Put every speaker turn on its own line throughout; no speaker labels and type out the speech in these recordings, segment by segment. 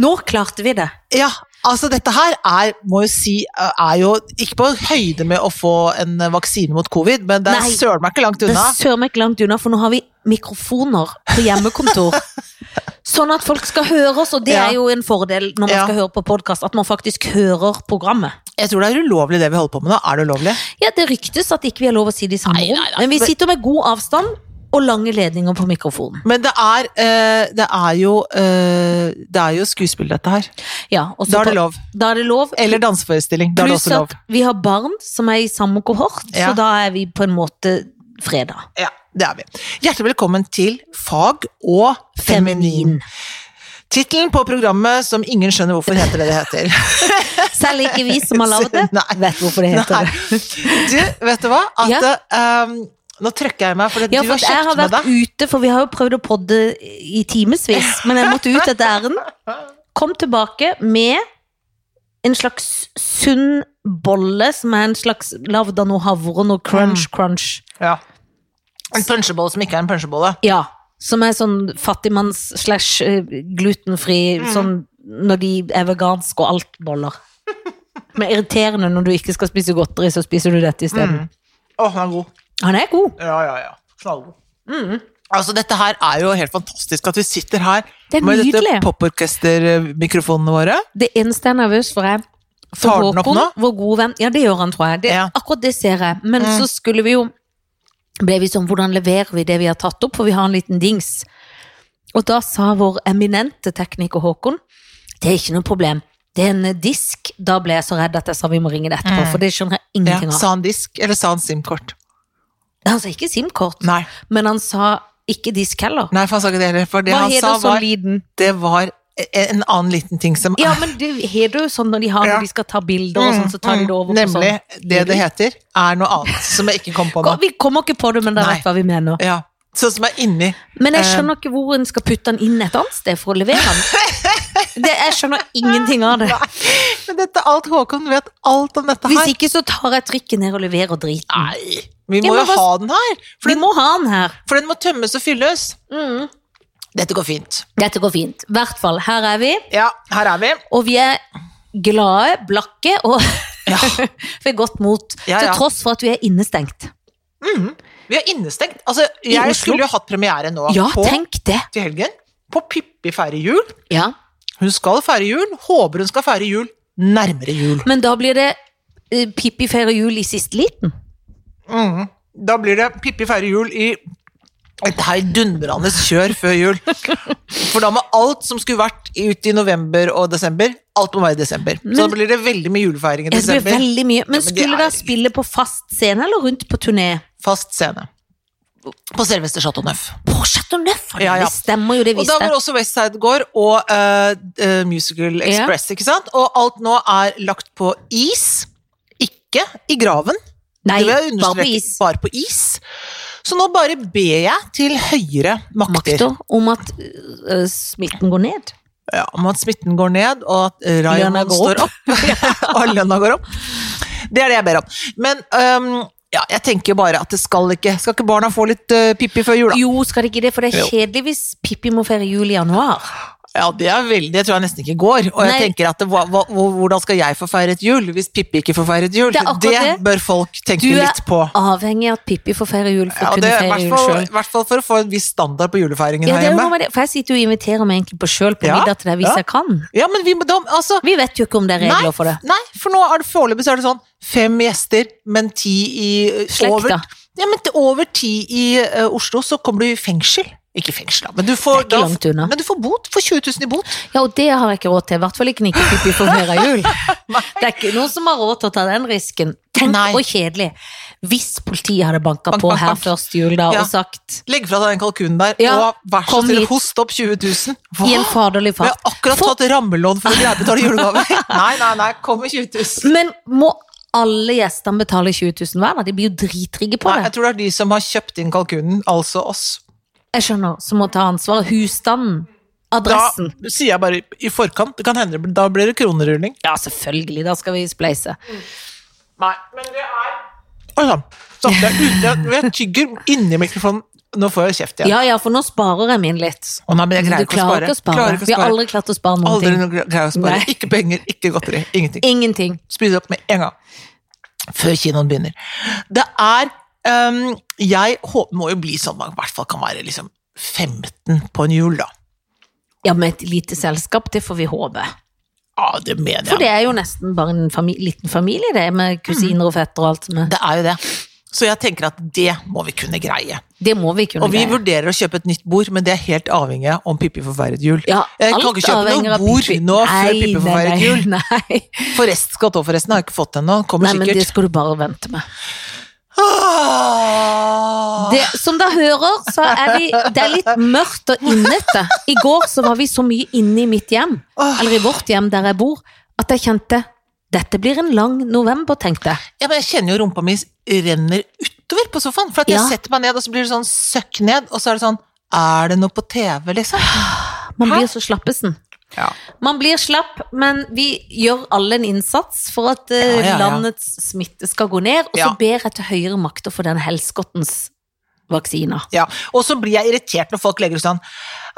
Nå klarte vi det.
Ja, altså dette her er, må jo si, eh, er jo ikke på høyde med å få en eh, vaksine mot covid, men det er
Nei.
søren meg ikke langt
Det
unna.
sør meg ikke langt unna, for nå har vi mikrofoner på hjemmekontor. Sånn at folk skal høre oss, og det
Ja.
er jo en fordel når man
Ja.
skal høre på podkast, at man faktisk hører programmet.
Jeg tror det er ulovlig det vi holder på med nå. Er det ulovlig?
Ja, det ryktes at ikke vi har lov å si det i samme
Nei,
rom,
nei, nei.
men vi sitter med god avstand og lange ledninger på mikrofonen.
Men det er, eh, det er jo eh, Det er jo skuespill, dette her.
Ja, og så
Da er det
på-
lov.
Da er det lov.
Eller danseforestilling. Da er det
Pluss
også lov.
at vi har barn som er i samme kohort,
Ja.
så da er vi på en måte fredag.
Ja, det er vi. Hjertelig velkommen til Fag og
Feminin.
feminin. Tittelen på programmet som ingen skjønner hvorfor heter det det heter.
Selv ikke vi som har laget det,
Nei.
vet hvorfor det heter det.
Nei. Du, vet du hva? At, eh, nå trøkker jeg meg, for
Ja, for
du har
at jeg
kjøpt
har
med
vært
deg.
ute, for vi har jo prøvd å podde i timevis, men jeg måtte ut etter ærend. Kom tilbake med en slags sunn bolle som er en slags lagd av noe havre, noe crunch,
Mm.
crunch.
Ja. En punsjebolle som ikke er en punsjebolle.
Ja, som er sånn fattigmanns slash eh, glutenfri,
Mm.
sånn når de er veganske og alt boller. Men irriterende når du ikke skal spise godteri, så spiser du dette isteden.
Mm. Å, den er god.
Han er god.
Ja, ja, ja. Knallgod. Altså, dette her er jo helt fantastisk, at vi sitter her
Det er
med dette
nydelig.
poporkester-mikrofonene våre.
Det eneste jeg er nervøs for, er for
Tar den opp
Håkon,
nå?
vår gode venn Ja, det gjør han, tror jeg. Det,
Ja. Mm.
Akkurat det ser jeg. Men så skulle vi jo ble vi sånn, Hvordan leverer vi det vi har tatt opp? For vi har en liten dings. Og da sa vår eminente tekniker Håkon det er ikke noe problem. Det er en eh, disk. Da ble jeg så redd at jeg sa vi må ringe det etterpå, for det skjønner jeg
Mm. Ja.
ingenting av.
Sa han disk, eller sa han SIM-kort?
Han sa ikke SIM-kort,
Nei.
men han sa ikke disk heller.
Nei, for han sa ikke det heller. For det
Hva
han
heter
sa,
sånn
var
lyden?
Det var en annen liten ting som
Ja, men det heter jo sånn når de, har,
Ja. Mm.
når de skal ta bilder og sånn, så tar de det over på sånn.
Nemlig. Det det heter, er noe annet som jeg ikke kom på nå.
Kom- Vi kommer ikke på det, men dere
Nei.
vet hva vi mener.
Ja. Sånn som er inni.
Men jeg skjønner ikke hvor en skal putte den inn et annet sted for å levere den. Det, jeg skjønner ingenting av det.
Men dette alt, Håkon vet alt om dette
Hvis
her.
ikke så tar jeg trikken ned og leverer driten.
Nei. Vi
Ja,
må
men
jo
hva-
ha den her, for
Vi
den,
må ha den her.
for den må tømmes og fylles. Dette går fint.
Dette går fint. I hvert fall, her er vi.
Ja, her er vi.
Og vi er glade, blakke og ved godt mot.
Ja, ja.
Til tross for at vi er innestengt.
Vi er innestengt. Altså,
I
jeg
Oslo?
skulle jo hatt premiere nå
Ja,
på
tenk det.
til helgen. På Pippi feirer jul.
Ja.
Hun skal feire jul. Håper hun skal feire jul nærmere jul.
Men da blir det eh, Pippi feirer jul i siste liten.
Mm. Da blir det Pippi feirer jul i et heidundrende kjør før jul. For da må alt som skulle vært ute i november og desember, alt må være i desember. Så da blir det veldig mye julefeiring i
Ja, det blir
desember.
veldig mye. Men
det
skulle
er
dere
litt-
spille på fast scene eller rundt på turné?
Fast scene. På selveste Chateau Neuf.
På Chateau Neuf!
Ja, ja.
Det stemmer jo, det
Og da
visste
var
jeg.
også Westside går og eh, eh, Musical Express, ikke sant? Og alt nå er lagt på is. Ikke i graven.
Nei,
Det vil jeg
bare på
understreke,
is.
Bare på is. Så nå bare ber jeg til høyere makter.
Makter om at øh, smitten går ned.
ja, om at smitten går ned, og at eh,
Lønna
Raymond
går
står opp. og lønna går opp. Det er det jeg ber om. Men øhm, ja, jeg tenker bare at det skal ikke Skal ikke barna få litt eh, pippi før jul, da?
Jo, skal det ikke det? For det
Jo.
er kjedelig hvis Pippi må feire jul i januar.
Ja, det er veldig Det tror jeg nesten ikke går. Og jeg
Nei.
tenker at det, hva, hva, hvordan skal jeg få feiret jul hvis Pippi ikke får feiret jul?
Det er akkurat det.
bør
Du
folk tenke
er
litt på.
avhengig av at Pippi får feire jul for å
Ja, det,
kunne
i,
feire
hvert
jul
fall,
sjøl.
I hvert fall for å få en viss standard på julefeiringen
Ja, det er
her
jo noe
hjemme.
med det. For jeg sitter jo og inviterer meg egentlig på sjøl på
Ja,
middag til deg hvis
ja.
jeg kan.
Ja, men vi må da Altså,
Vi vet jo ikke om det er regler
Nei,
for det.
Nei, for nå er det foreløpig så er det sånn fem gjester, men ti i ø,
Slekta.
Over, ja, men til over ti i ø, Oslo, så kommer du i fengsel. Ikke fengsel, da, men du får,
Det er ikke langt unna.
men du får bot. Får 20 000 i bot.
Ja, og det har jeg ikke råd til. I hvert fall ikke nikke Pippi for mer av jul. Det er ikke noen som har råd til å ta den risken. Tenk
Nei.
hvor kjedelig. Hvis politiet hadde banka
Bank,
på
bank,
her
bank.
først jul da
Ja.
og sagt
Legg fra deg den kalkunen der,
Ja,
og vær så
kom
snill,
hit.
host opp 20 000. Hva?
i en faderlig
Vi har
fart
akkurat
For-
tatt rammelån for å greie å betale julegave. nei, nei, nei, kom med 20 000.
Men må alle gjestene betale 20 000 hver? da? De blir jo dritrigge på
Nei, jeg
det.
tror det er de som har kjøpt inn kalkunen, altså oss.
Jeg skjønner, som må ta ansvaret. Husstanden.
Da
Adressen.
sier jeg bare i forkant, det kan hende det blir- da blir det kronerulling.
Ja, selvfølgelig. Da skal vi spleise.
Nei, men det er Oi sann. Sånn, det er ute, jeg tygger inni mikrofonen Nå får jeg kjeft igjen.
Ja, ja, for nå sparer jeg min litt.
Å, nei, men jeg
Du
greier ikke å
klarer
spare.
ikke å spare.
Klarer ikke å
Vi har
spare.
aldri klart å spare noen
Aldri
ting.
noe greier å spare.
Nei.
Ikke penger, ikke godteri. Ingenting.
Ingenting.
Spise opp med en gang. Før kinoen begynner. Det er øhm, Jeg håper, må jo bli sånn man i hvert fall kan være liksom 15 på en jul, da.
Ja, med et lite selskap, det får vi håpe.
Ja, det mener jeg.
For det er jo nesten bare en fami liten familie, det, med kusiner og fettere og alt som er.
Det er jo det. Så jeg tenker at det må vi kunne greie.
Det må vi kunne
Og vi
greie.
vurderer å kjøpe et nytt bord, men det er helt avhengig av om Pippi får feiret jul.
Ja,
jeg kan
alt
ikke kjøpe
avhenger
noe
av
bord
Pippi.
nå før
Nei,
Pippi får
nei,
feiret
nei,
jul.
Nei.
Forrest skal tå, forresten. Har jeg ikke fått det ennå. Kommer
nei, men det
sikkert.
skal du bare vente med.
Ah!
Det, som dere hører, så er vi Det er litt mørkt og innete. I går så var vi så mye inne i mitt hjem,
Åh.
eller i vårt hjem der jeg bor, at jeg kjente dette blir en lang november, tenkte jeg.
Ja, men jeg kjenner jo rumpa mi renner utover på sofaen. For at jeg
Ja.
setter meg ned, og så blir det sånn søkk ned, og så er det sånn Er det noe på TV, liksom?
Man
Hæ?
blir så slappesen.
Ja.
Man blir slapp, men vi gjør alle en innsats for at eh,
Ja, ja, ja.
landets smitte skal gå ned. Og så
Ja.
ber jeg til høyere makter for den helskottens vaksina.
ja. Og så blir jeg irritert når folk legger ut sånn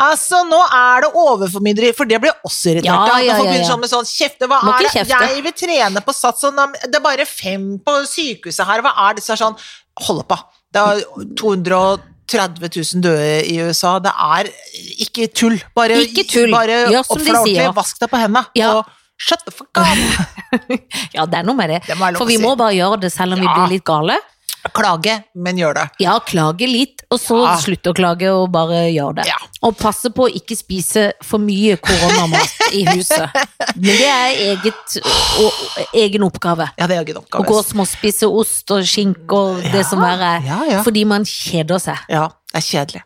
Altså, nå er det overformynderi, for det blir jeg også irritert
Ja,
av.
ja,
Når folk
ja,
begynner
ja.
sånn med sånn Kjefte, hva
Må
er
ikke
det?
kjefte.
Jeg vil trene på sats, og nam- det er bare fem på sykehuset her, hva er det? Så er det sånn Hold opp, da. Det er 230 000 døde i USA. Det er ikke tull. Bare,
Ikke tull.
bare
Gjør som de
oppfør ordentlig,
sier.
Vask deg på hendene.
Ja.
Og shut the fuck up.
Ja, det er noe med det.
Det må være lov
For
å
vi
si.
må bare gjøre det selv om vi
Ja.
blir litt gale.
Klage, men gjør det.
Ja, klage litt, og så
Ja.
slutte å klage og bare gjøre det.
Ja.
Og passe på å ikke spise for mye koronamat i huset. Men det er eget, og, egen oppgave.
Ja, det er jo ikke en
Å
oppgave.
gå og småspise ost og skinke og det som verre er.
ja, ja.
Fordi man kjeder seg.
Ja, det er kjedelig.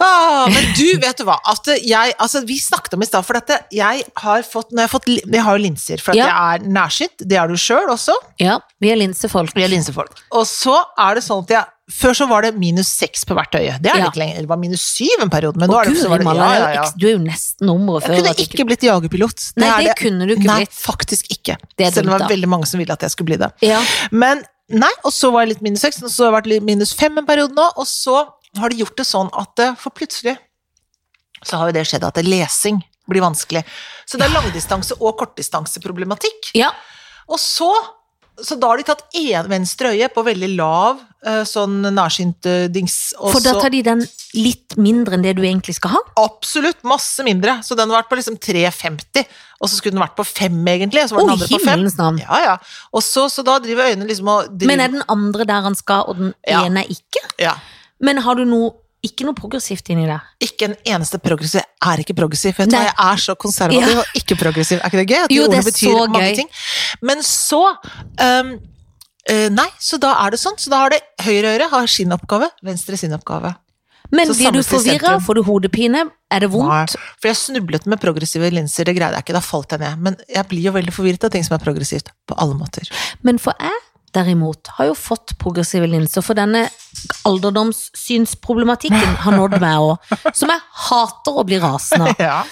Ah, men du, vet du hva? At jeg, altså, vi snakket om i stad, for dette jeg har fått, når jeg, har fått li- jeg har jo linser, for at
Ja.
jeg er nærsynt. Det er du sjøl også.
Ja, vi er linsefolk.
Vi er linsefolk. Og så er det sånn at jeg Før så var det minus seks på hvert øye. Det er det
Ja.
ikke lenger. Det var minus syv en periode, men
Å
nå er det,
gud,
så var det
Himal,
ja,
det er jo
ja, ja.
ekst- du er jo nesten nummeret
Jeg
før.
kunne
at du
ikke blitt jagerpilot.
Nei,
er
det kunne du ikke
Nei,
blitt.
faktisk ikke.
Det er
Selv
dumt,
om det var
da.
veldig mange som ville at jeg skulle bli det.
Ja.
Men nei, og så var jeg litt minus 6, og så har jeg vært litt minus 5 en periode nå, og så har de gjort det sånn at eh, for plutselig så har jo det skjedd at lesing blir vanskelig. Så det er langdistanse- og kortdistanseproblematikk.
ja.
Og så, så da har de tatt en venstre øye på veldig lav eh, sånn nærsynt eh, dings, og
For da
så
tar de den litt mindre enn det du egentlig skal ha.
absolutt masse mindre. Så den har vært på liksom 3,50, og så skulle den vært på 5 egentlig, og så
Å,
var den
i
andre på 5.
himmelens navn.
Ja, ja. Og så, så da driver øynene liksom og driver,
Men er den andre der han skal, og den
Ja.
ene ikke?
ja.
Men har du noe, ikke noe progressivt inni der?
ikke en eneste progressiv Jeg er ikke progressiv. Vet du,
Nei.
hva, jeg er så konservativ
Ja.
og ikke progressiv. Er ikke det gøy? At de
Jo, det
ordene
er
betyr
så
mange
gøy.
ting. Men så øhm, øh, Nei, så da er det sånn. Så da har det høyre øre har sin oppgave, venstre sin oppgave.
Men
Så
blir du
samles de
forvirra?
i sentrum.
Får du hodepine? Er det
Nei.
vondt?
For jeg snublet med progressive linser, det greide jeg ikke. Da falt jeg ned. Men jeg blir jo veldig forvirret av ting som er progressivt. På alle måter.
Men for jeg, derimot, har jo fått progressive linser, for denne alderdomssynsproblematikken har nådd meg òg. Som jeg hater å bli rasende av.
Ja.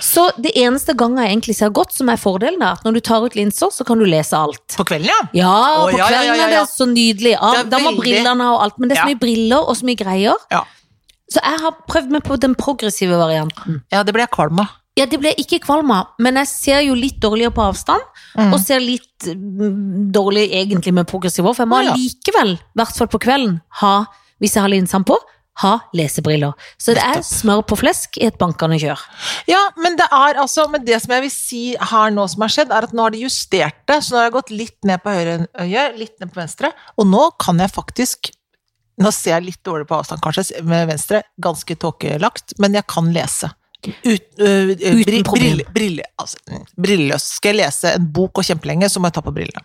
Så det eneste gangen jeg egentlig ser godt, som er fordelen, er at når du tar ut linser, så kan du lese alt.
På kvelden, ja.
Ja,
Å,
på
ja, ja,
kvelden
ja,
er
ja.
det så nydelig. Ja,
Det er
da må
veldig-
brillene ha og alt, men det er så
Ja.
mye briller og så mye greier.
Ja,
Så jeg har prøvd meg på den progressive varianten.
ja det ble jeg kvalm av.
Ja, det ble ikke kvalm av, men jeg ser jo litt dårligere på avstand,
Mm.
og ser litt mm, dårlig egentlig med progressiv også, for jeg må
Å, ja.
likevel, i hvert fall på kvelden, ha, hvis jeg har linsene på, ha lesebriller. Så det er smør på flesk i et bankende kjør.
Ja, men det er altså Men det som jeg vil si her nå som har skjedd, er at nå har de justert det. Så nå har jeg gått litt ned på høyre øye, litt ned på venstre. Og nå kan jeg faktisk Nå ser jeg litt dårlig på avstand, kanskje, med venstre. Ganske tåkelagt, men jeg kan lese. Ut, øh, øh, bri-
problem.
brille- brille- altså, mm, Brilleløs. Skal jeg lese en bok og kjempelenge, så må jeg ta på brillene.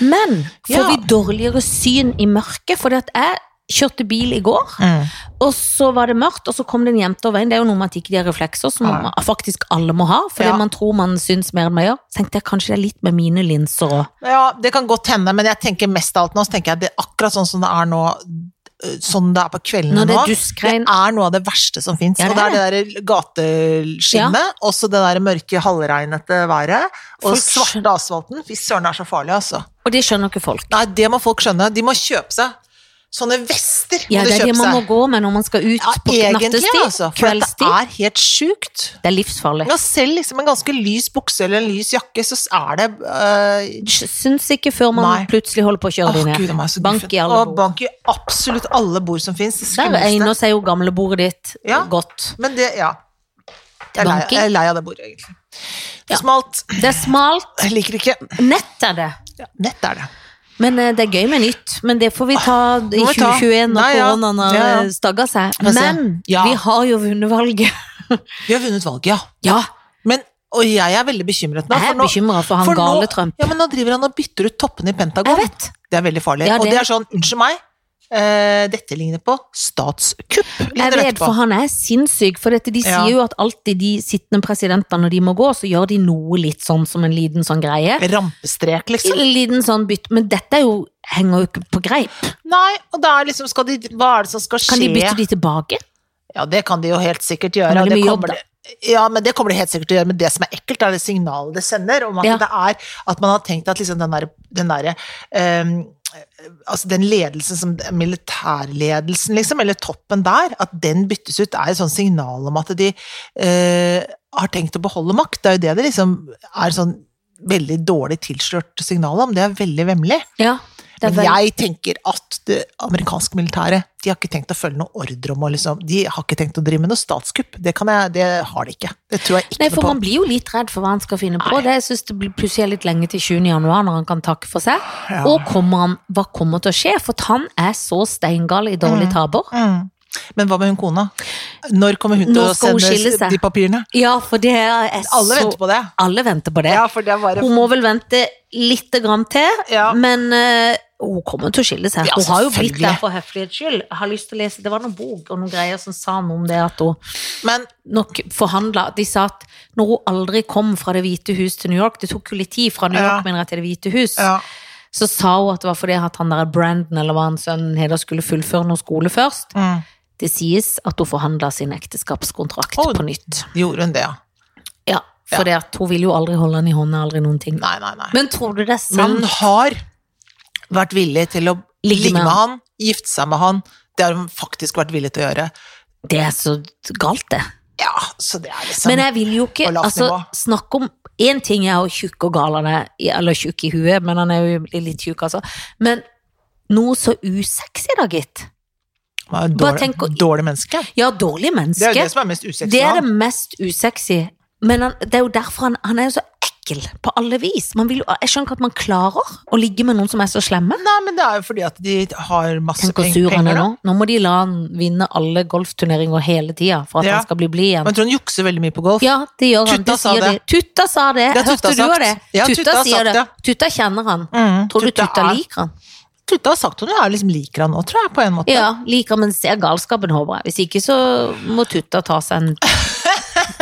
Men får
Ja.
vi dårligere syn i mørket? Fordi at jeg kjørte bil i går,
Mm.
og så var det mørkt, og så kom det en jente over veien. Det er jo noe med at ikke de har reflekser, som
Ja.
faktisk alle må ha, fordi
Ja.
man tror man syns mer enn man gjør. Tenkte jeg kanskje det er litt med mine linser òg.
Ja, det kan godt hende, men jeg tenker mest av alt nå, så tenker jeg at det er akkurat sånn som det er nå, øh, sånn det er på kveldene
Når det
nå.
er duskregn.
Det er noe av det verste som fins.
Ja, det
og det
er
er det der gateskinnet, også det der mørke, halvregnete været, og
Folk
den svarte asfalten. Fy søren, det er så farlig, altså.
Og det skjønner ikke folk.
Nei, det må folk skjønne. De må kjøpe seg Sånne vester
Ja,
må du
det er det
kjøpe
man må
seg.
gå med når man skal ut
Ja,
på
egentlig,
nattestid,
altså. For dette
kveldstid.
er helt sjukt.
Det er livsfarlig.
Ja, selv liksom en ganske lys bukse eller en lys jakke, så er det øh,
Syns ikke før man
Nei.
plutselig holder på å kjøre
Åh,
de ned.
Gud, de er så
Bank
guffen.
i alle
Åh,
bord.
Bank i absolutt alle bord som fins.
Der egner seg jo gamlebordet ditt
Ja.
godt.
Men det, ja. Jeg er, lei,
Banking.
jeg er lei av det bordet, egentlig.
Ja.
Det er Smalt.
Det er smalt.
Jeg liker det ikke.
Nett er det.
Ja, nett er det.
Men eh, det er gøy med nytt. Men det får vi ta i
Ah, må vi ta.
2021 når
Nei, ja.
koronaen har
Ja, ja.
eh, stagga seg.
Få se.
Men
Ja.
vi har jo vunnet valget.
Vi har vunnet valget, ja.
Ja,
Men, og jeg er veldig bekymret nå.
jeg er
for nå-
bekymra for han
for nå-
gale Trump.
Ja, men nå driver han og bytter ut toppene i Pentagon.
Jeg vet.
Det er veldig farlig.
Ja,
Og
det-
det er sånn, unnskyld meg, eh, dette ligner på statskupp.
Jeg
ligner
vet,
dette på.
for han er sinnssyk. For dette, de
Ja.
sier jo at alltid de sittende presidentene, når de må gå, så gjør de noe litt sånn som en liten sånn greie.
Rampestrek, liksom.
En liten sånn bytt, men dette er jo, henger jo ikke på greip.
Nei, og da er liksom, skal de, hva er det som skal skje?
Kan de bytte de tilbake?
Ja, det kan de jo helt sikkert gjøre.
Det er
og
veldig
det
mye jobb,
kommer de- Ja, men det kommer de helt sikkert til å gjøre. Men det som er ekkelt, er det signalet det sender, om at
Ja.
det er at man har tenkt at liksom den derre den derre, ehm, Altså den ledelsen som Militærledelsen, liksom, eller toppen der, at den byttes ut, er et sånt signal om at de eh, har tenkt å beholde makt. Det er jo det det liksom er sånn veldig dårlig tilslørt signal om. Det er veldig vemmelig.
Ja. Det er
Men
vel-
jeg tenker at det amerikanske militæret de har ikke tenkt å følge noen ordre om å liksom, De har ikke tenkt å drive med noe statskupp. Det, kan jeg, det har de ikke. Det tror jeg ikke
Nei,
noe
for
på.
man blir jo litt redd for hva han skal finne på.
Nei.
Det, jeg synes det blir plutselig litt lenge til 20. januar når han kan takke for seg.
Ja.
Og kommer han, hva kommer til å skje? For at han er så steingal i dårlig taber.
Mm. Men hva med hun kona? Når kommer hun til
Når
å
skal hun skille
sende
seg?
de papirene?
Ja, for det er så...
Alle venter på det.
Alle venter på det.
Ja, for det er bare
Hun må vel vente litt grann til,
Ja.
men eh, hun kommer til å skille seg.
Ja,
hun har jo blitt
selvfølgelig.
der for høflighets skyld. Jeg har lyst til å lese, Det var noen bok og noen greier som sa noe om det at hun
Men
nok forhandla De sa at når hun aldri kom fra Det hvite hus til New York Det tok jo litt tid fra New
Ja.
York mener jeg, til Det hvite hus.
ja,
Så sa hun at det var fordi at han der Brandon eller hva han sønnen heter skulle fullføre noe skole først.
mm.
Det sies at hun forhandla sin ekteskapskontrakt
Å.
på nytt.
gjorde hun det, ja.
Ja, For det at hun vil jo aldri holde han i hånda, aldri noen ting.
Nei, nei, nei.
Men tror du det er
Men
sant?
hun har vært villig til å ligge, med, han. gifte seg med han. Det har hun faktisk vært villig til å gjøre.
Det er så galt, det.
Ja, så det er liksom
Men jeg vil jo ikke
på lavt
altså,
nivå.
Snakk om Én ting er jo tjukk og gal han er, eller tjukk i huet, men han er jo litt tjukk, altså. Men noe så usexy, da, gitt.
Hun er jo
Bare
dårlig,
tenk å-
dårlig menneske.
Ja, dårlig
Det
menneske.
er jo det som er mest usexy.
Det er
med
det mest usexy. Men han, det er jo derfor han, han er jo så ekkel på alle vis. Man vil jo, jeg skjønner ikke at man klarer å ligge med noen som er så slemme.
han. Nei, men det er jo fordi at de har masse
Tenk hvor
peng-
sur han
penger
er
da.
nå. Nå må de la han vinne alle golfturneringer hele tida for at
Ja.
han skal bli blid
Men
igjen.
jeg tror han jukser veldig mye på golf.
Ja, det gjør han.
Tutta
Det
sa
sier
det.
de. Tutta sa det.
Det har
Hørte
Tutta
du
sagt.
det?
Ja, Tutta har
sier
sagt
det. Tutta kjenner han.
Mm,
Tror du Tutta,
er-
liker han?
Tutta har sagt hun er liksom liker han nå, tror jeg, på en måte.
Ja, liker han, men ser galskapen, håper jeg. Hvis ikke så må Tutta ta seg en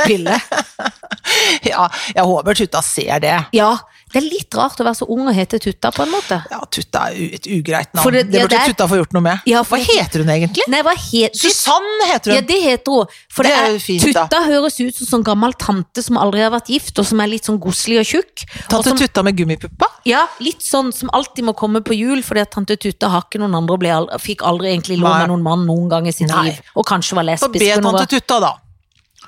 pille.
Ja, jeg håper Tutta ser det.
Ja, det er litt rart å være så ung og hete Tutta, på en måte.
Ja, Tutta er u- et ugreit navn.
For
det,
det- ja,
burde
det er-
Tutta få gjort noe med.
Ja, for-
Hva heter hun egentlig?
Nei, hva heter
Susann heter hun!
Ja, det heter hun. For
Det
det
er
er,
jo fint, da.
Tutta høres ut som sånn gammel tante som aldri har vært gift, og som er litt sånn godslig og tjukk. Og
Tante
som,
Tutta med gummipuppa?
ja, litt sånn som alltid må komme på jul, fordi at tante Tutta har ikke noen andre og ble al- fikk aldri egentlig lov
Nei.
med noen mann noen gang i sitt
Nei.
liv. Og kanskje var
Så
lesbisk.
be
og noe.
tante Tutta, da.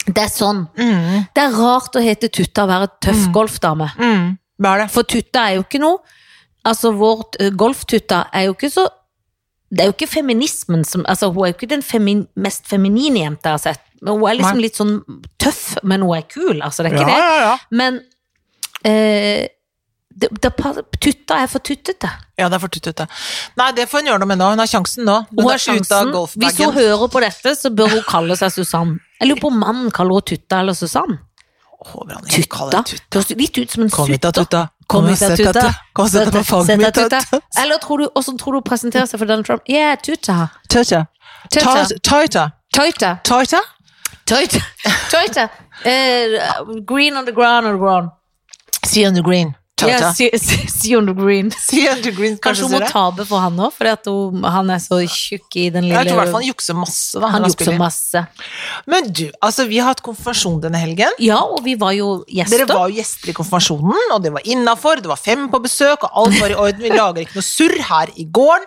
Det er sånn.
Mm.
Det er rart å hete Tutta og være tøff golfdame.
Mm. Hva er det?
For Tutta er jo ikke noe Altså, vårt eh, golftutta er jo ikke så Det er jo ikke feminismen som Altså, hun er jo ikke den femin, mest feminine jenta jeg har sett. Men hun er liksom
Nei.
litt sånn tøff, men hun er kul. Altså, det er
ja,
ikke det.
ja, ja.
Men eh, det, det, pa- Tutta er for tuttete.
Ja, det er for Tutta. Nei, det får hun gjøre noe med nå. Hun har sjansen nå. Hun,
Hun har
er ute
sjansen.
av
Hvis hun
golfbagen.
hører på dette, så bør hun kalle seg Susann. Jeg lurer på om mannen kaller henne Tutta eller Susann.
Håper han ikke kaller
Tutta.
det Tutta.
Det høres litt ut som en
Kom hit da,
sutter.
Tutta.
Kom hit da,
og sett deg,
Tutta.
Kom og sett deg på fanget mitt,
Tutta.
Tutta.
Eller tror du, hvordan tror du hun presenterer seg for Donald Trump? Yeah, Tutta.
Tøyta.
Tøyta.
Tøyta.
Tøyta.
Tøyta?
Tøyta. Tøyta. Eh, green on the ground on the ground.
See on the green. Ta-ta.
Ja, Si- Si- Sion Green.
Sienna Green,
Kanskje hun må
ser det.
tape for han òg, for han er så tjukk i den
Jeg tror i hvert fall
lille
han jukser masse. Da,
Han
når
jukser
spiller.
masse.
Men du, altså, vi har hatt konfirmasjon denne helgen.
Ja, og vi var jo gjester.
Dere var jo gjester i konfirmasjonen, og det var innafor. Det var fem på besøk, og alt var i orden. Vi lager ikke noe surr her i gården.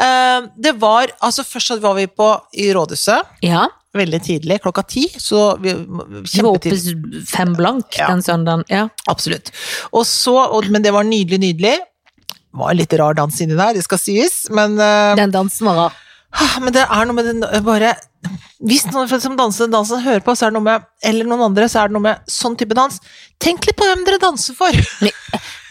Eh, Det var, altså Først så var vi på i Rådhuset
Ja,
veldig tidlig, klokka ti. Så vi,
vi var oppe
kjempetidlig.
fem blank
Ja.
den søndagen. Ja.
Absolutt. Og så, og, men det var nydelig, nydelig. Det var en litt rar dans inni der, det skal sies, men eh,
Den dansen var rar.
Ah, Men det er noe med den eh, bare Hvis noen som danser den dansen hører på, så er det noe med Eller noen andre, så er det noe med sånn type dans. Tenk litt på hvem dere danser for!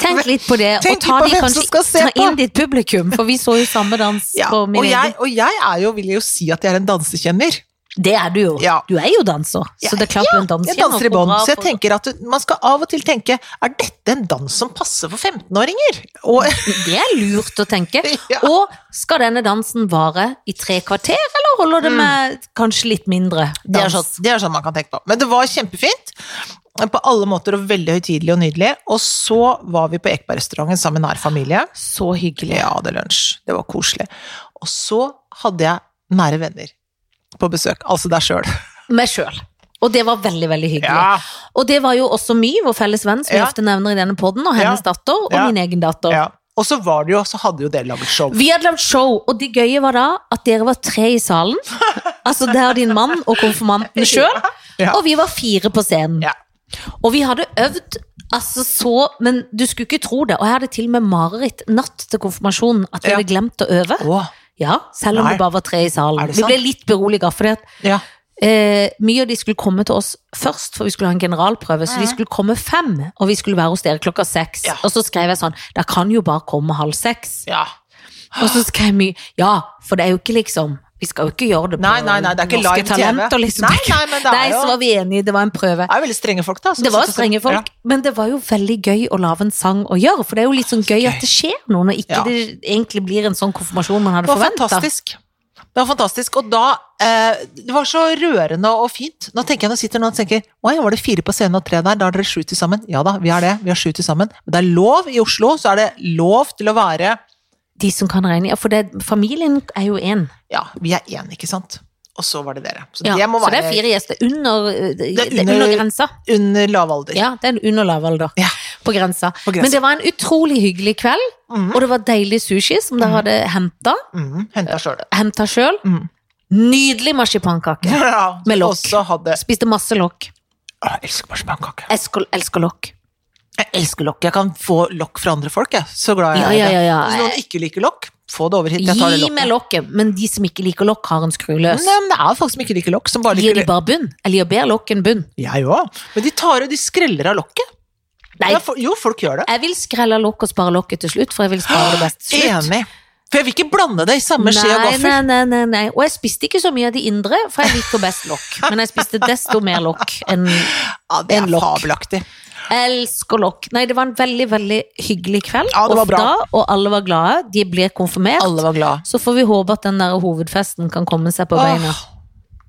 Tenk litt på det, og
Tenk
ta,
litt på
de
hvem som skal se
kanskje, ta
på.
inn ditt publikum, for vi så jo samme dans
Ja,
på min
og, jeg, og jeg er jo, vil jo si at jeg er en dansekjenner.
egen Det er du jo.
Ja.
Du er jo danser, så det er klart du er en danser.
Jeg danser i bånd. Så jeg tenker at du- man skal av og til tenke Er dette en dans som passer for 15-åringer? Og
Det er lurt å tenke.
Ja.
Og skal denne dansen vare i tre kvarter, eller holder det med kanskje litt mindre
Mm. Det er,
dans?
sånn, det er sånn man kan tenke på. Men det var kjempefint. På alle måter og veldig høytidelig og nydelig. Og så var vi på Ekebergrestauranten sammen med nær familie.
Så hyggelig.
Ja, det er lunsj. Det var koselig. Og så hadde jeg nære venner på besøk. Altså deg sjøl.
Meg sjøl. Og det var veldig, veldig hyggelig.
Ja.
Og det var jo også My, vår felles venn, som
Ja.
vi ofte nevner i denne podden, og
Ja.
hennes datter, og
Ja.
min egen datter.
Ja. Og så var det jo, så hadde jo dere laget show.
Vi hadde lagd show, og det gøye var da at dere var tre i salen. Altså der din mann og konfirmanten sjøl.
Ja.
Og vi var fire på scenen.
Ja.
Og vi hadde øvd altså så Men du skulle ikke tro det. Og jeg hadde til og med mareritt natt til konfirmasjonen at vi
Ja.
hadde glemt å øve.
Åh,
Ja, Selv om
Nei.
det bare var tre i
Er
salen.
det
Vi ble
sant?
litt beroliga, fordi at
ja.
eh, mye av de skulle komme til oss først, for vi skulle ha en generalprøve. Så de skulle komme fem, og vi skulle være hos dere klokka seks.
Ja.
Og så skrev jeg sånn Dere kan jo bare komme halv seks.
ja.
Og så skrev jeg mye Ja, for det er jo ikke liksom Vi skal jo ikke gjøre det på
Nei, nei, nei, det er ikke
norske
live TV.
talenter, liksom.
Nei, nei, men det er
Nei,
jo-
så var vi enige, det var en prøve.
Det er jo veldig strenge folk, da. som
Det var
sitter og-
strenge folk,
Ja.
men det var jo veldig gøy å lage en sang å gjøre. For det er jo litt sånn gøy at det skjer noe, når ikke
Ja.
det egentlig blir en sånn konfirmasjon man hadde
Det var
forventa.
fantastisk. Det var fantastisk, og da eh, Det var så rørende og fint. Nå tenker jeg, nå sitter noen og tenker Oi, var det fire på scenen og tre der? Da er dere sju til sammen. Ja da, vi er det. Vi er sju til sammen. Men det er lov i Oslo, så er det lov til å være
De som kan regne, ja, for det, familien er jo én.
Ja, vi er én, ikke sant? Og så var det dere. Så
Ja,
det må
så det
være
er fire gjester under, eh, det
er
er under
under-
grensa.
under lav alder.
Ja, det er en under lavalder.
Ja.
På grensa.
På grensa. Mhm.
Men det var en utrolig hyggelig kveld, og det var deilig sushi som dere hadde henta.
Mm, Henta sjøl.
Henta sjøl.
Mm.
Nydelig marsipankake.
Ja,
Med lokk.
Og så hadde
Spiste masse lokk.
Å, Jeg elsker marsipankake.
Jeg skal- elsker lokk.
Jeg elsker lokk. Jeg kan få lokk fra andre folk, jeg. Så glad jeg
Ja,
er i
ja,
det.
ja, ja.
Hvis noen ikke liker lokk, få det over hit. Jeg tar det
Gi meg
lokket.
lokket, men de som ikke liker lokk, har en skru løs.
Nei, men det er folk som ikke liker lokk, som bare
Gir de
liker
bare bunn? Eller gir bedre lokk enn bunn?
Jeg òg. Men de tar og de skreller av lokket.
Nei,
Ja, for- jo, folk gjør det.
jeg vil skrelle lokk og spare lokket til slutt, for jeg vil spare det best til slutt.
Enig. For jeg vil ikke blande det i samme skje og
Nei,
gaffel.
nei, nei, nei, nei. Og jeg spiste ikke så mye av de indre, for jeg liker best lokk. Men jeg spiste desto mer lokk enn
Ja, det
En
er
lokk.
fabelaktig.
Elsker lokk. Nei, det var en veldig, veldig hyggelig kveld.
Ja, det var
og
bra.
da- og alle var glade. De blir konfirmert.
Alle var glade.
Så får vi håpe at den der hovedfesten kan komme seg på beina.
Åh,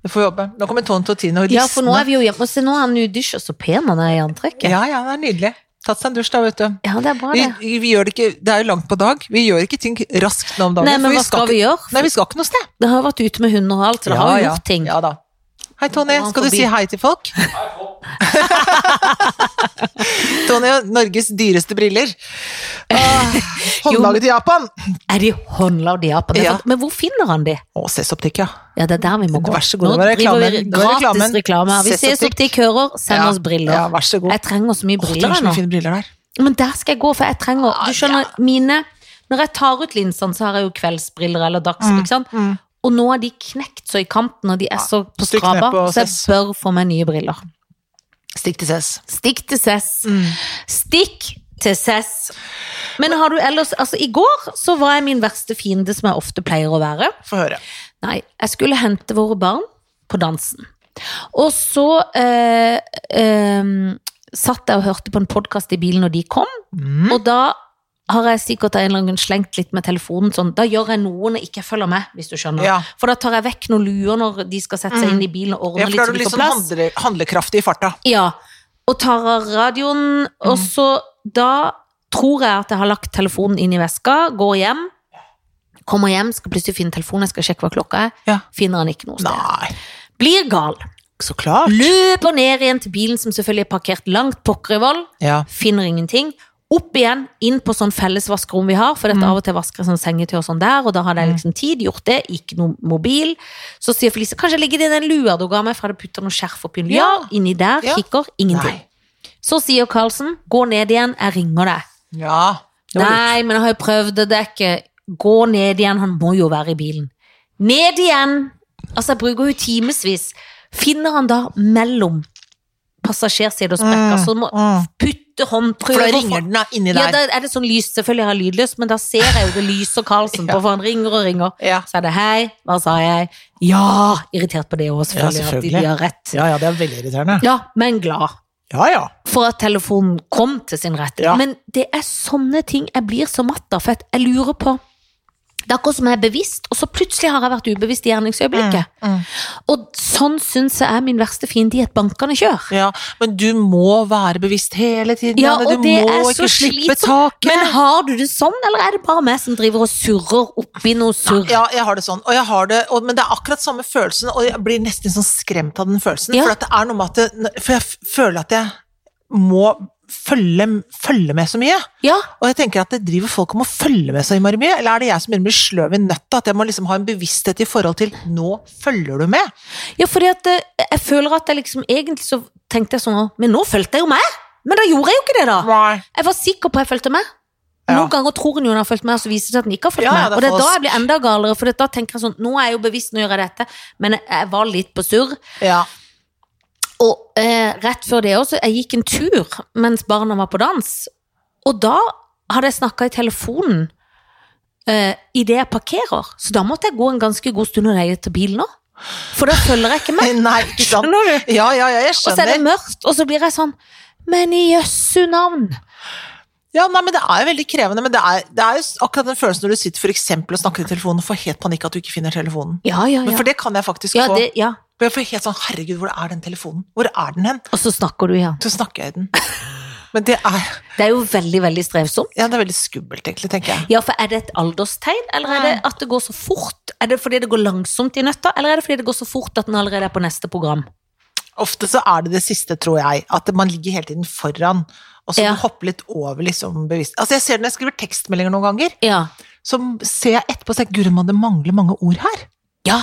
Vi får jobbe. Nå kommer Tone Totino og
Ja, for nå er
ristene.
vi jo hjemme. Og se, nå er han nudysj, og så pen han er i antrekket.
Ja, ja, det er nydelig. Tatt seg en dusj, da, vet du.
Ja, det er bra,
Vi,
det.
vi gjør det ikke Det er jo langt på dag. Vi gjør ikke ting raskt nå om dagen.
Nei, men
for
hva skal
ikke-
vi gjøre?
Nei, vi skal ikke noe sted.
Det har jo vært ute med hunder og alt, så det har jo
ja,
gjort ting.
Ja da. Hei, Tony.
Nå er han
Skal du
forbi.
si hei til folk? Tony har Norges dyreste briller. Ah, Håndlaget i Japan.
Er de håndlagde i Japan? Det er
Ja.
fant- Men hvor finner han de?
Å, Sesoptikk, ja.
Ja, det er der vi må gå.
Vær så god,
Nå
det var
driver vi
reklamen. Det var
gratis
reklamen.
reklame. her. Vi
Ses
ses
optikk.
optikk hører, send
Ja.
oss briller.
Ja, vær så god.
Jeg trenger så mye
Å, det
briller
er så
nå.
mye fine briller der.
Men der skal jeg gå, for jeg trenger Du skjønner, mine Når jeg tar ut linsene, så har jeg jo kveldsbriller eller dags,
Mm,
ikke sant? Og nå er de knekt så i kanten, og de er så på
Stikk ned
skrapa,
på
så jeg
Sess.
bør få meg nye briller.
Stikk til ses.
Stikk til Sess.
Mm.
Stikk til Sess. Men har du ellers Altså, i går så var jeg min verste fiende, som jeg ofte pleier å være.
Få høre.
Nei, jeg skulle hente våre barn på dansen. Og så eh, eh, satt jeg og hørte på en podkast i bilen når de kom,
Mm.
og da har jeg sikkert av en eller annen grunn slengt litt med telefonen sånn, da gjør jeg noe når jeg ikke følger med, hvis du skjønner.
Ja.
For da tar jeg vekk noen luer når de skal sette seg
Mm.
inn i bilen og ordne
Ja, for
litt
da er
så
du
de
liksom
får plass.
handle, handlekraftig i farta. Mhm.
Ja, og tar av radioen, og så da tror jeg at jeg har lagt telefonen inn i veska, går hjem, kommer hjem, skal plutselig finne telefonen, jeg skal sjekke hva klokka er,
Ja.
finner han ikke noe sted.
Nei,
Blir gal.
så klart.
Løper ned igjen til bilen som selvfølgelig er parkert langt pokker i vold,
Ja.
finner ingenting. Opp igjen, inn på sånn felles vaskerom vi har, for
Mm.
dette av og til vasker jeg sånn sengetøy og sånn der, og da hadde jeg liksom tid, gjort det, ikke noe mobil. Så sier Felice, kanskje jeg legger det i den lua du ga meg, for jeg hadde puttet noe skjerf oppi en lua,
Ja.
inni der,
Ja.
kikker, ingenting.
Nei.
Så sier Karlsen, gå ned igjen, jeg ringer deg.
Ja. Det var lurt.
Nei, men jeg har jo prøvd det, det er ikke Gå ned igjen, han må jo være i bilen. Ned igjen! Altså, jeg bruker jo timevis. Finner han da mellom passasjerside og sprekker, så må
Mm.
putte hånd,
For
prøve
da
å få-
ringer den da inni
Ja,
der.
da er det sånn lys, selvfølgelig har jeg lydløs, men da ser jeg jo det lyser Karlsen på, for han ringer og ringer.
Ja.
Så er det hei, hva sa jeg? Ja! Irritert på det òg, selvfølgelig,
Ja,
at de,
selvfølgelig.
de har rett.
ja, ja, det er veldig irriterende.
Ja, men glad
Ja, ja.
for at telefonen kom til sin rett.
Ja.
Men det er sånne ting jeg blir så matt av, for at jeg lurer på Det er akkurat som jeg er bevisst, og så plutselig har jeg vært ubevisst i gjerningsøyeblikket.
Mm,
Og sånn syns jeg er min verste fiende i et bankende kjør.
ja. Men du må være bevisst hele tiden,
Ja,
Janne.
og
Du
det
må
er så
ikke slippe
slitsomt.
taket.
Men har du det sånn, eller er det bare meg som driver og surrer oppi noe surr?
Ja, jeg har det sånn. Og jeg har det, og, men det er akkurat samme følelsen, og jeg blir nesten sånn skremt av den følelsen.
Ja.
For, at det er noe med at det, for jeg f- føler at jeg må følge, følge med så mye.
Ja.
Og jeg tenker at det driver folk om å følge med så innmari mye, eller er det jeg som begynner å bli sløv i nøtta, at jeg må liksom ha en bevissthet i forhold til nå følger du med?
ja, fordi at eh, jeg føler at jeg liksom egentlig så tenkte jeg sånn Men nå fulgte jeg jo meg! Men da gjorde jeg jo ikke det, da!
Nei.
Jeg var sikker på at jeg fulgte med.
Ja.
Noen ganger tror en jo hun har fulgt med, og så viser det seg at den ikke har fulgt
Ja, ja,
med.
det er
Og det er da
falskt.
jeg blir enda galere, for da tenker jeg sånn Nå er jeg jo bevisst, nå gjør jeg dette, men jeg- jeg var litt på surr.
Ja.
Og eh, rett før det også, jeg gikk en tur mens barna var på dans, og da hadde jeg snakka i telefonen eh, idet jeg parkerer, så da måtte jeg gå en ganske god stund og leie til bilen òg. For da følger jeg ikke med.
Nei, ikke sant?
Skjønner
Ja, ja, ja, jeg
Og så er det
skjønner.
mørkt, og så blir jeg sånn Men i jøssu navn!
Ja, nei, men det er jo veldig krevende, men det er, det er jo s- akkurat den følelsen når du sitter for eksempel og snakker i telefonen og får helt panikk at du ikke finner telefonen.
Ja, ja,
Men
ja.
for det kan jeg faktisk
ja,
få.
det, ja.
For jeg får helt sånn, herregud, hvor er den telefonen? Hvor er den hen?
Og så snakker du igjen.
Så snakker jeg i den. Men det er,
Det er jo veldig, veldig strevsomt.
ja, det er veldig skummelt, egentlig, tenker jeg.
Ja, for er det et alderstegn, eller er det at det går så fort? Er det fordi det går langsomt i nøtta, eller er det fordi det går så fort at den allerede er på neste program?
Ofte så er det det siste, tror jeg, at man ligger hele tiden foran, og så
Ja.
hopper litt over liksom bevisst. Altså, jeg ser det når jeg skriver tekstmeldinger noen ganger,
Ja.
så ser jeg etterpå og tenker, gud, man, det mangler mange ord her.
Ja,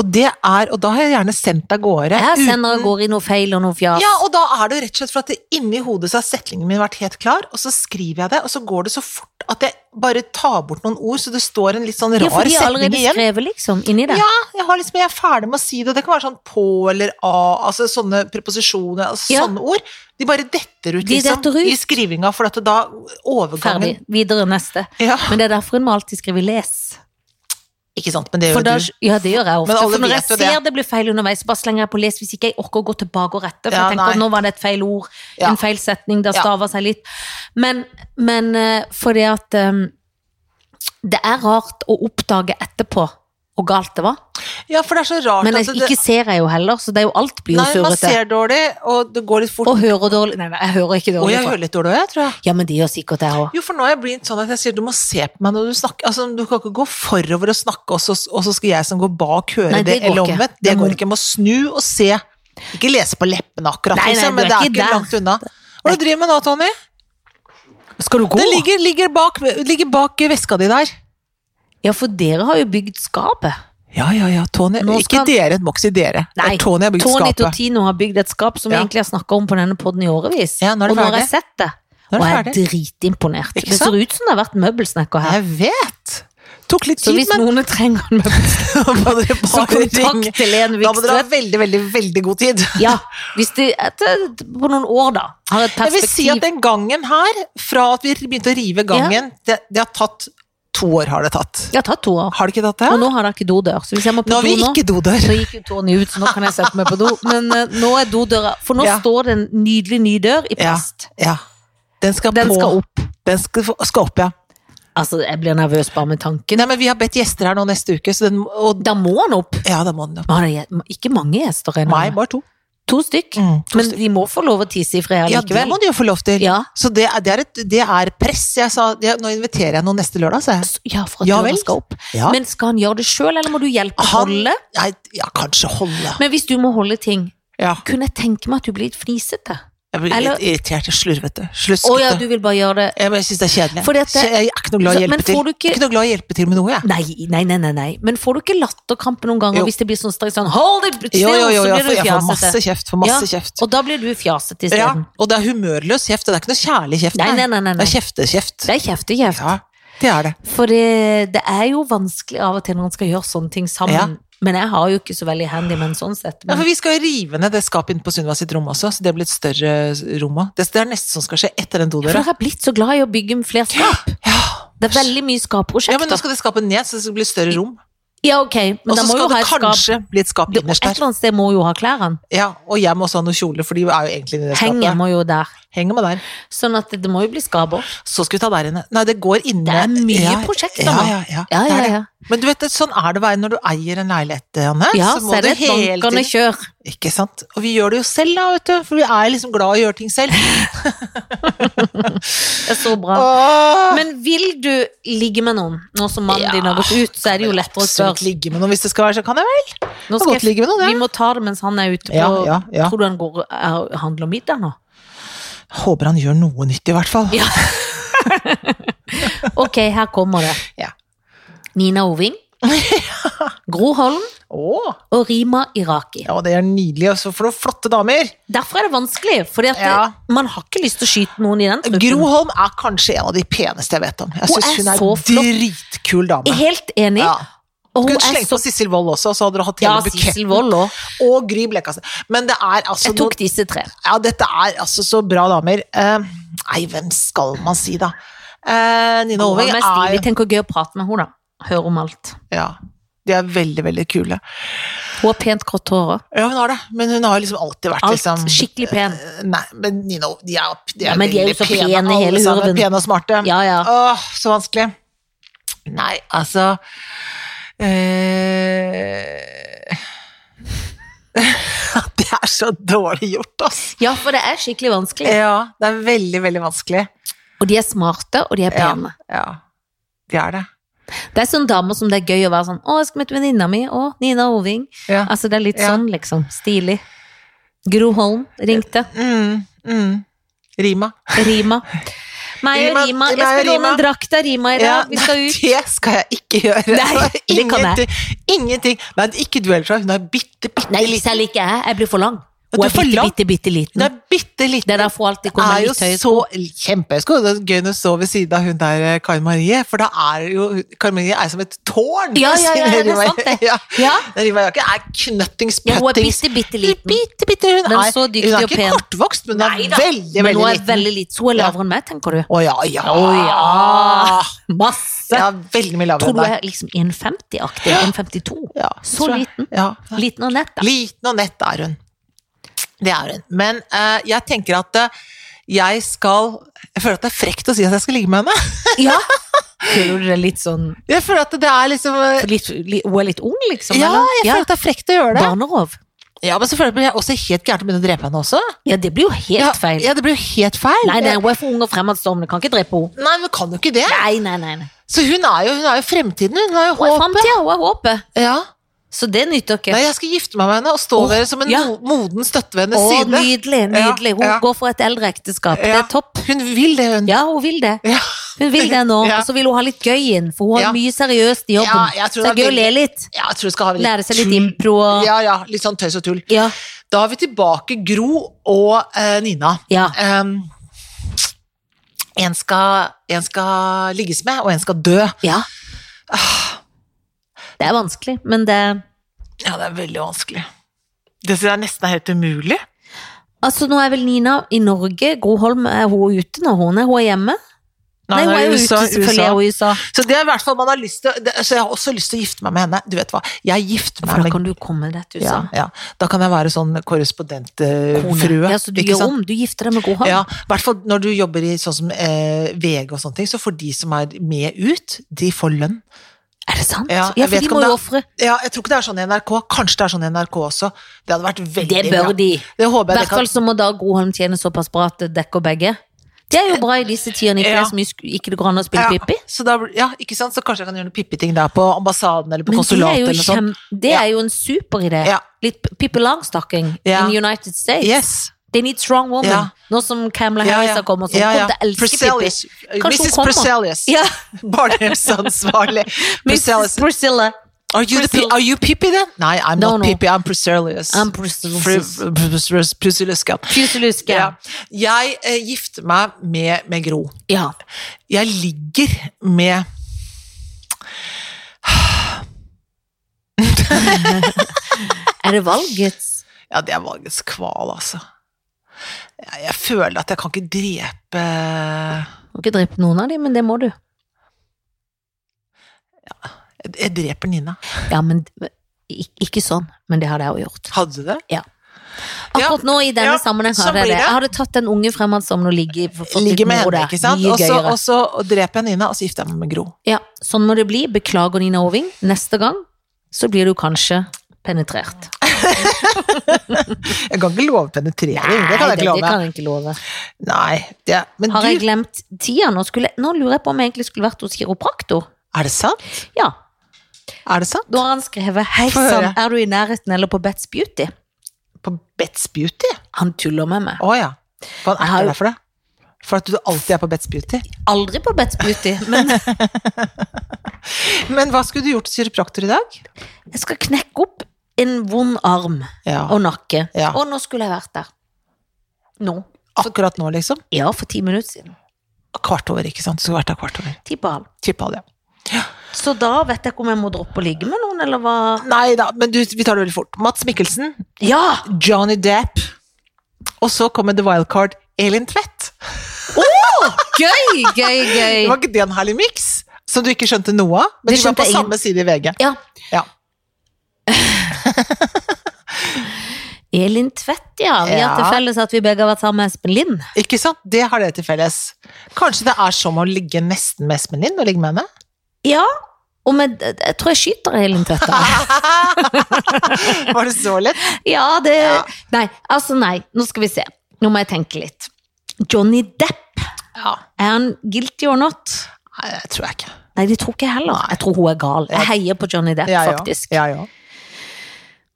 Og det er, og da har jeg gjerne sendt av gårde.
jeg
uten-
sender og går i noe feil og noe fjas.
Ja, og da er det jo rett og slett for at det, inni hodet så har setningen min vært helt klar, og så skriver jeg det, og så går det så fort at jeg bare tar bort noen ord, så det står en litt sånn
Ja, for
rar
de har
setning
allerede
igjen.
skrevet liksom inni det.
Ja, jeg, har liksom, jeg er ferdig med å si det, og det kan være sånn på eller a, altså sånne preposisjoner, altså
Ja.
sånne ord. De bare detter ut,
De
liksom,
detter ut.
i skrivinga, for at det da
Ferdig.
overgangen
Videre neste.
Ja,
Men det er derfor en må alltid skrive les.
ikke sant, men det
For
gjør
da,
du.
ja, det gjør jeg ofte.
Men alle
For når jeg
vet jo det.
ser det blir feil underveis, så bare slenger jeg på les hvis ikke jeg orker å gå tilbake og rette. For
Ja,
jeg tenker at
nei.
nå var det et feil ord,
Ja.
en feil setning, det
Ja.
stava seg litt. Men, men eh, fordi at eh, det er rart å oppdage etterpå hvor galt det var.
Ja, for det er så rart
Men
at
jeg,
altså, det,
ikke ser jeg jo heller, så det er jo alt blir jo
Nei, man
surrete.
ser dårlig, og det går litt fort.
Og hører dårlig. Nei, nei, jeg hører ikke
Å,
dårlig.
jeg
på.
hører litt dårlig òg, jeg, tror jeg.
Ja, men det gjør sikkert jeg òg.
Jo, for nå er jeg blitt sånn at jeg sier du må se på meg når du snakker. Altså, du kan ikke gå forover og snakke, og så, og så skal jeg som går bak høre
Nei, det
det,
går
eller
ikke.
omvendt.
Da
Det
må-
går ikke. Jeg må snu og se. Ikke lese på leppene akkurat,
Nei, nei,
liksom,
du er
men det er
ikke
ikke
der.
langt unna. Hva er det du driver med nå, Tony?
Skal du gå?
Det ligger, ligger, bak, ligger bak veska di der.
Ja, for dere har jo bygd skapet.
Ja, ja, ja, Tony.
Nå
Ikke
skal-
dere, det må ikke si dere. Det
Nei,
er Tony har bygd
Tony
skapet.
Totino har bygd et skap som vi
Ja.
egentlig har snakka om på denne podden i årevis.
Ja, nå er det
og nå har
ferdig.
jeg sett det.
Nå
og
er det
jeg er dritimponert.
Ikke
Det ser ut som det har vært møbelsnekker her.
Jeg vet! Tok litt
Så
tid,
hvis
men
noen trenger en møbelsnekker,
Da må dere
så
bare ringe.
kontakt Helen
Da må dere ha
Vikstvedt.
veldig, veldig, veldig god tid.
Ja, hvis de etter, på noen år, da, har et
Jeg vil si
perspektiv
at den gangen her, fra at vi begynte å rive gangen, det, det har tatt to år har det tatt.
Jeg har tatt to år,
Har det ikke tatt det?
og nå har dere ikke dodør. Så hvis jeg må på
Nå har
do
vi
nå
ikke dodør.
så gikk jo Tony ut, så nå kan jeg sette meg på do. Men eh, nå er dodøra For nå
Ja.
står det en nydelig ny dør i
Ja,
plast.
ja. Den skal
Den
på.
skal opp.
Den skal, få- skal opp, ja.
Altså, jeg blir nervøs bare med tanken.
Nei, men vi har bedt gjester her nå neste uke, så den og,
Da må han opp.
Ja, da må den opp.
Men han er ikke mange gjester ennå.
Meg, bare to.
To stykk.
Mm, to
Men de må få lov å tisse i fred
Ja, det
allikevel.
må du jo få lov til.
Ja.
Så det er, det, er et, det er press. Jeg sa, det, nå inviterer jeg noen neste lørdag, sa jeg.
Ja, for at
Ja
døra
vel.
skal opp.
Ja.
Men skal han gjøre det sjøl, eller må du hjelpe å
Han-
holde?
Nei, ja, kanskje holde.
Men hvis du må holde ting,
Ja.
kunne jeg tenke meg at du blir litt fnisete?
Jeg blir
Eller-
litt irritert. Jeg
Å
slurvete. Sluskete.
ja, du vil bare gjøre det
Jeg, men jeg syns det er kjedelig.
Fordi at det-
Så jeg er ikke noe glad i å
Men
hjelpe til.
får du ikke- Mm.
Jeg er ikke noe glad i å hjelpe til med noe, jeg.
Nei, nei, nei, nei, nei. Men får du ikke latterkrampe noen ganger
Jo.
hvis det blir sånn streng sånn Hold it! Still,
Jo,
så
jo, jo, jeg,
blir
får,
du
jeg får masse
fjasete.
kjeft. Får masse
Ja.
kjeft.
Og da blir du fjasete
Ja,
isteden.
og det er humørløs kjeft. Det er ikke noe kjærlig kjeft.
Nei,
nei.
nei, nei, nei,
Det
nei.
er kjeftekjeft.
Det er kjeftekjeft.
Ja, det er det.
For det, det er jo vanskelig av og til når man skal gjøre sånne ting sammen. Men jeg har jo ikke så veldig handyman sånn sett. Men
Ja, for Vi skal jo rive ned det skapet inne på Sunniva sitt rom også, så det blir et større eh, rom òg. Det det er neste som skal skje etter den
for
dodøra.
jeg har blitt så glad i å bygge flere skap.
Ja.
Det er veldig mye
ja, men
skapprosjekter.
nå skal det skapet ned, så det blir større rom.
Ja, ok, men
Og
da
så
må jo
skal
ha
det
et skap.
kanskje bli et skap
Det, et
innerst der.
eller annet sted må jo ha klærne.
Ja, og jeg må også ha noen kjoler, for de er jo egentlig inni det
Henger
skapet.
må jo der.
Henger med der.
Sånn at det, det må jo bli skap òg.
Så skal vi ta der inne. Nei, det går inne.
Det er mye
ja,
prosjekter
ja,
nå.
ja, ja.
Ja,
Det
ja,
er det.
ja.
Men du vet, det- sånn er det å være når du eier en leilighet, Hanne.
Ja,
så
så
må
er
du
det et
hele
bankende
tiden
kjør.
Ikke sant? Og vi gjør det jo selv, da, vet du. For vi er liksom glad i å gjøre ting selv.
Det er så bra.
Åh!
Men vil du ligge med noen, nå som mannen
Ja,
din har gått ut, så er det jo lettere å
Absolutt
spørre.
ligge med noen hvis det skal være, så kan jeg vel.
Nå
Kan
skal
godt
jeg,
ligge med noen,
vi
ja.
må ta det mens han er ute på
Ja, ja, ja.
Tror du han går, er, handler middag nå?
Håper han gjør noe nytt, i hvert fall.
Ja. Ok, her kommer det.
Ja.
Nina Oving, Gro Holm
Åh,
og Rima Iraki.
ja, det er nydelig. Og så for noen flotte damer.
Derfor er det vanskelig, for
Ja.
man har ikke lyst til å skyte noen i den
Gro
truppen.
Holm er kanskje en av de peneste jeg vet om. Jeg
Hun
syns
er
hun er
så
en
flott.
dritkul dame.
Helt enig.
Ja.
Og hun
Skulle
er
slengt
så
på Sissel Wold også, så hadde dere hatt
Ja,
hele
Sissel
buketten.
Wold òg.
Og Gry Blekastad. Men det er altså
Jeg tok disse tre.
noe- Ja, dette er altså så bra damer. Eh, nei, hvem skal man si, da? Eh, Nina
Hun
Oving
er stiv.
er
Vi tenker gøy å prate med henne, da. Høre om alt.
Ja, de er veldig, veldig kule.
Hun har pent grått hår òg.
Ja, hun har det, men hun har liksom alltid vært
Alt
liksom
skikkelig pen.
Eh, Nei, men Nina, de er, de er
Ja, men de er jo så
veldig
pene,
alle
hele
sammen
hurven.
Pene og smarte.
Ja, ja.
Åh, så vanskelig. Nei, altså eh... Det er så dårlig gjort, ass.
Ja, for det er skikkelig vanskelig.
Ja, det er veldig, veldig vanskelig.
Og de er smarte, og de er
Ja,
pene.
ja. Det er det.
Det er sånne damer som det er gøy å være sånn Å, jeg skal møte venninna mi. Å, Nina Oving.
Ja.
Altså, det er litt
Ja.
sånn, liksom. Stilig. Gro Holm ringte.
Mm, mm. Rima.
Rima. Meg og Rima.
Rima,
Jeg
meg og
skal låne
Rima.
en drakt av Rima i dag. Vi skal ut.
Det skal jeg ikke gjøre.
Nei, det kan jeg.
ingenting, ingenting. Nei, ikke du heller, Troy. Hun er bitte, bitte
Nei,
liten.
selv ikke jeg. Jeg blir for lang.
du
Hun
er
er
for
bitte,
lang.
bitte, bitte
Hun
liten.
er bitte
Det
liten.
er derfor hun alltid
Hun
kommer
er jo
litt høy.
så kjempehøy sko. Det er gøy når du står ved siden av hun der eh, Karin Marie, for da er jo Karin Marie er som et tårn.
Ja, ja, ja,
Siden
det er
Rima-
sant det.
Ja.
Ja.
Rima Jakke er knøttings,
ja, hun er
pøttings.
bitte, bitte liten.
Bitte, bitte, hun
Men
er,
så
hun
dyktig
er
og
ikke
pen.
kortvokst, men hun er
Neida,
veldig,
Men
veldig
hun er
liten.
veldig liten. Så hun er
Ja.
lavere enn meg, tenker du.
Å ja, ja.
Å ja. Masse.
Ja, veldig mye lavere
Tror
enn
du
deg.
jeg er liksom 1,50-aktig? 1,52?
Ja,
Så
tror jeg.
liten.
Ja.
Liten og nett, da.
Liten og nett er hun. Det er hun. Men eh, jeg tenker at eh, jeg skal Jeg føler at det er frekt å si at jeg skal ligge med henne.
Ja. Føler du det litt sånn
Jeg føler at det er liksom eh,
litt, li- Hun er litt ung, liksom?
Ja,
eller?
jeg føler at det er frekt å gjøre det.
Barnerov.
Ja, men så føler jeg at jeg også er helt gæren å begynne å drepe henne også.
Ja, det blir jo helt
Ja,
feil.
Ja, det blir jo helt feil.
Nei, nei, hun er for ung og fremadstormende. Kan ikke drepe henne.
Nei, men kan jo ikke det.
Nei, nei, nei. nei.
Så hun er jo, hun er jo fremtiden, hun. Hun er jo
Hun er
håpet.
framtida, hun er håpet.
Ja.
Så det nytter ikke.
Nei, jeg skal gifte meg med henne og stå
Åh,
ved henne som en
ja.
mo- moden støtte
Å,
ved hennes side.
nydelig, nydelig. Hun
Ja, ja.
går for et eldre ekteskap. Det
Ja.
er topp.
Hun vil det, hun.
Ja, hun vil det.
Ja.
Hun vil det nå.
Ja.
Og så vil hun ha litt gøy inn, for hun
Ja.
har mye seriøst i jobben.
Ja, jeg
så
tror
det er
det
gøy
er
å le litt.
Ja, jeg tror hun skal ha litt
Lære seg litt
tull.
impro og
Ja, ja, litt sånn tøys og tull.
Ja.
Da har vi tilbake Gro og eh, Nina.
ja.
Em, en, skal, en skal ligges med, og en skal dø.
Ja.
Ah.
Det er vanskelig, men det
Ja, det er veldig vanskelig. Det synes jeg nesten er helt umulig.
Altså, nå er vel Nina i Norge. Gro Holm, er hun ute når hun er? Hun er hjemme? Nei, hun er jo ute, selvfølgelig. er hun i USA.
Så det er i hvert fall man har lyst til, det, så jeg har også lyst til å gifte meg med henne. Du vet hva, jeg gifter meg
For da
med
kan du komme deg til
ja,
USA.
ja. Da kan jeg være sånn korrespondentfrue.
Ja, så du gjør om. Du gifter deg med Gro Holm.
Ja, i hvert fall når du jobber i sånn som eh, VG og sånne ting, så får de som er med ut, de får lønn.
Er det sant?
Ja,
Ja,
jeg
for
vet
de
ikke
må
om
jo
det-
ofre.
Ja, jeg tror ikke det er sånn i NRK. Kanskje det er sånn i NRK også. Det hadde vært veldig
Det bør
bra.
de.
Det
I
håper jeg
hvert fall så må da Groholm tjene såpass bra at det dekker begge. Det er jo bra i disse tidene, ikke
Ja.
det er så mye sk- ikke det går an å spille Pippi.
Ja, så, da, blir- ja, ikke sant? så kanskje jeg kan gjøre noen pippeting der på ambassaden eller på
Men det er
konsulatet
jo,
eller noe sånt.
kjem- det
Ja.
er jo en superidé.
Ja.
Litt P- Pippi Langstocking
Ja.
in United States.
Yes.
They need strong women.
Ja.
Nå som Camilla Harris har kommet, så hun kommer til å elske Pippi.
Priscillius.
Kanskje hun
Mrs.
kommer.
Priscillius.
Ja,
Barnehjemsansvarlig.
Mrs.
Priscillius.
Priscilla.
Are you, the, pi-
Priscilla.
are you Pippi then? Nei, I'm
No,
not
no.
Pippi, I'm Priscillius.
I'm Priscilla.
Fri- Priscillus- Priscillus, ja.
Fyseluske.
Ja. Jeg eh, gifter meg med, med Gro.
Ja.
Jeg ligger med
Er det valgets?
Ja, det er valgets kval, altså. Jeg, jeg føler at jeg kan ikke
Du
drepe
har ikke drept noen av dem, men det må du.
Jeg, jeg dreper Nina.
Ja, men ik- ikke sånn, men det hadde jeg jo gjort.
Hadde du det?
Akkurat nå i denne
Ja,
sammenheng
sånn
hadde jeg
blir
det.
det.
Jeg hadde tatt den unge fremmed som nå ligger for- for-
Ligger med
mor
henne,
der.
ikke sant?
Mye
Og så-
gøyere.
Og så og dreper jeg Nina, og så gifter jeg meg med Gro.
Ja, sånn må det bli. Beklager Nina Oving. Neste gang så blir du kanskje penetrert.
Jeg kan ikke love penetrering, det kan
Nei,
jeg ikke
det
love.
kan jeg ikke love.
Nei, det, men
Har jeg
du,
glemt tida? Nå, skulle, nå lurer jeg på om jeg egentlig skulle vært hos kiropraktor.
er det sant?
Ja,
Er det sant?
da har han skrevet 'Hei
Få
sann,
høre.
er du i nærheten eller på Bets Beauty?'
På Bet's Beauty?
Han tuller med meg.
Å ja. Hva
Jeg
er
har jo-
det for det? For at du alltid er på Bet's Beauty?
Aldri på Bets Beauty, men
Men hva skulle du gjort til kiropraktor i dag?
jeg skal knekke opp en vond arm
Ja,
og nakke.
Ja.
Og nå skulle jeg vært der. Nå.
akkurat nå liksom.
Ja, for ti minutter siden.
Kvart over, ikke sant? Du skulle vært der kvart over.
Ti på halv.
Tippa det.
Så da vet jeg ikke om jeg må droppe å ligge med noen, eller hva?
Nei da, men du, vi tar det veldig fort. Mats Mikkelsen,
Ja!
Johnny Depp, og så kommer The Wildcard Elin Tvedt.
Gøy, gøy,
Det
gøy.
var ikke det en herlig miks? Som du ikke skjønte noe av?
Det
Men de var
skjønte
på
jeg
samme side i VG.
Ja.
Ja.
Elin Tvedt, ja. Vi har
Ja.
til felles at vi begge har vært sammen med Espen Lind.
Ikke sant? Det har det til felles. Kanskje det er som å ligge nesten med Espen Lind og ligge med henne?
Ja, og med, jeg tror jeg skyter Elin Tvedt. da.
Var det så lett?
Ja, det
Ja.
Nei, altså nei. Nå skal vi se. Nå må jeg tenke litt. Johnny Depp,
Ja.
er han guilty or not?
Nei, det tror jeg ikke.
Nei, det tror ikke jeg heller. Jeg tror hun er gal. Jeg heier på Johnny Depp,
Ja, ja.
faktisk.
Ja, ja.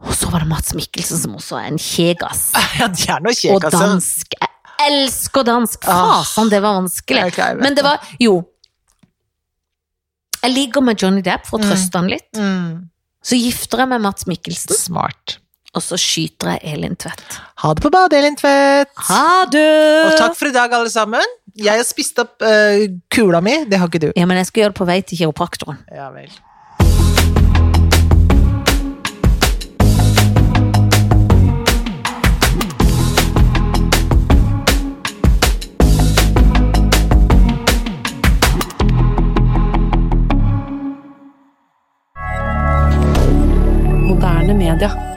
Og så var det Mats Mikkelsen, som også er en kjegas.
ja det er noe
Og
kjekk, altså.
dansk. Jeg elsker dansk!
Ah.
Fasan, det var vanskelig.
Jeg er klar, jeg vet
Men det var Jo. Jeg ligger med Johnny Depp for å
Mm.
trøste han litt.
Mm.
Så gifter jeg meg med Mats Mikkelsen,
Smart.
og så skyter jeg Elin Tvedt.
Ha det på badet, Elin Tvedt.
Ha det!
Og takk for i dag, alle sammen. Jeg har spist opp eh, kula mi, det har ikke du.
Ja, men jeg skal gjøre det på vei til kiropraktoren.
Ja vel.
Moderne media.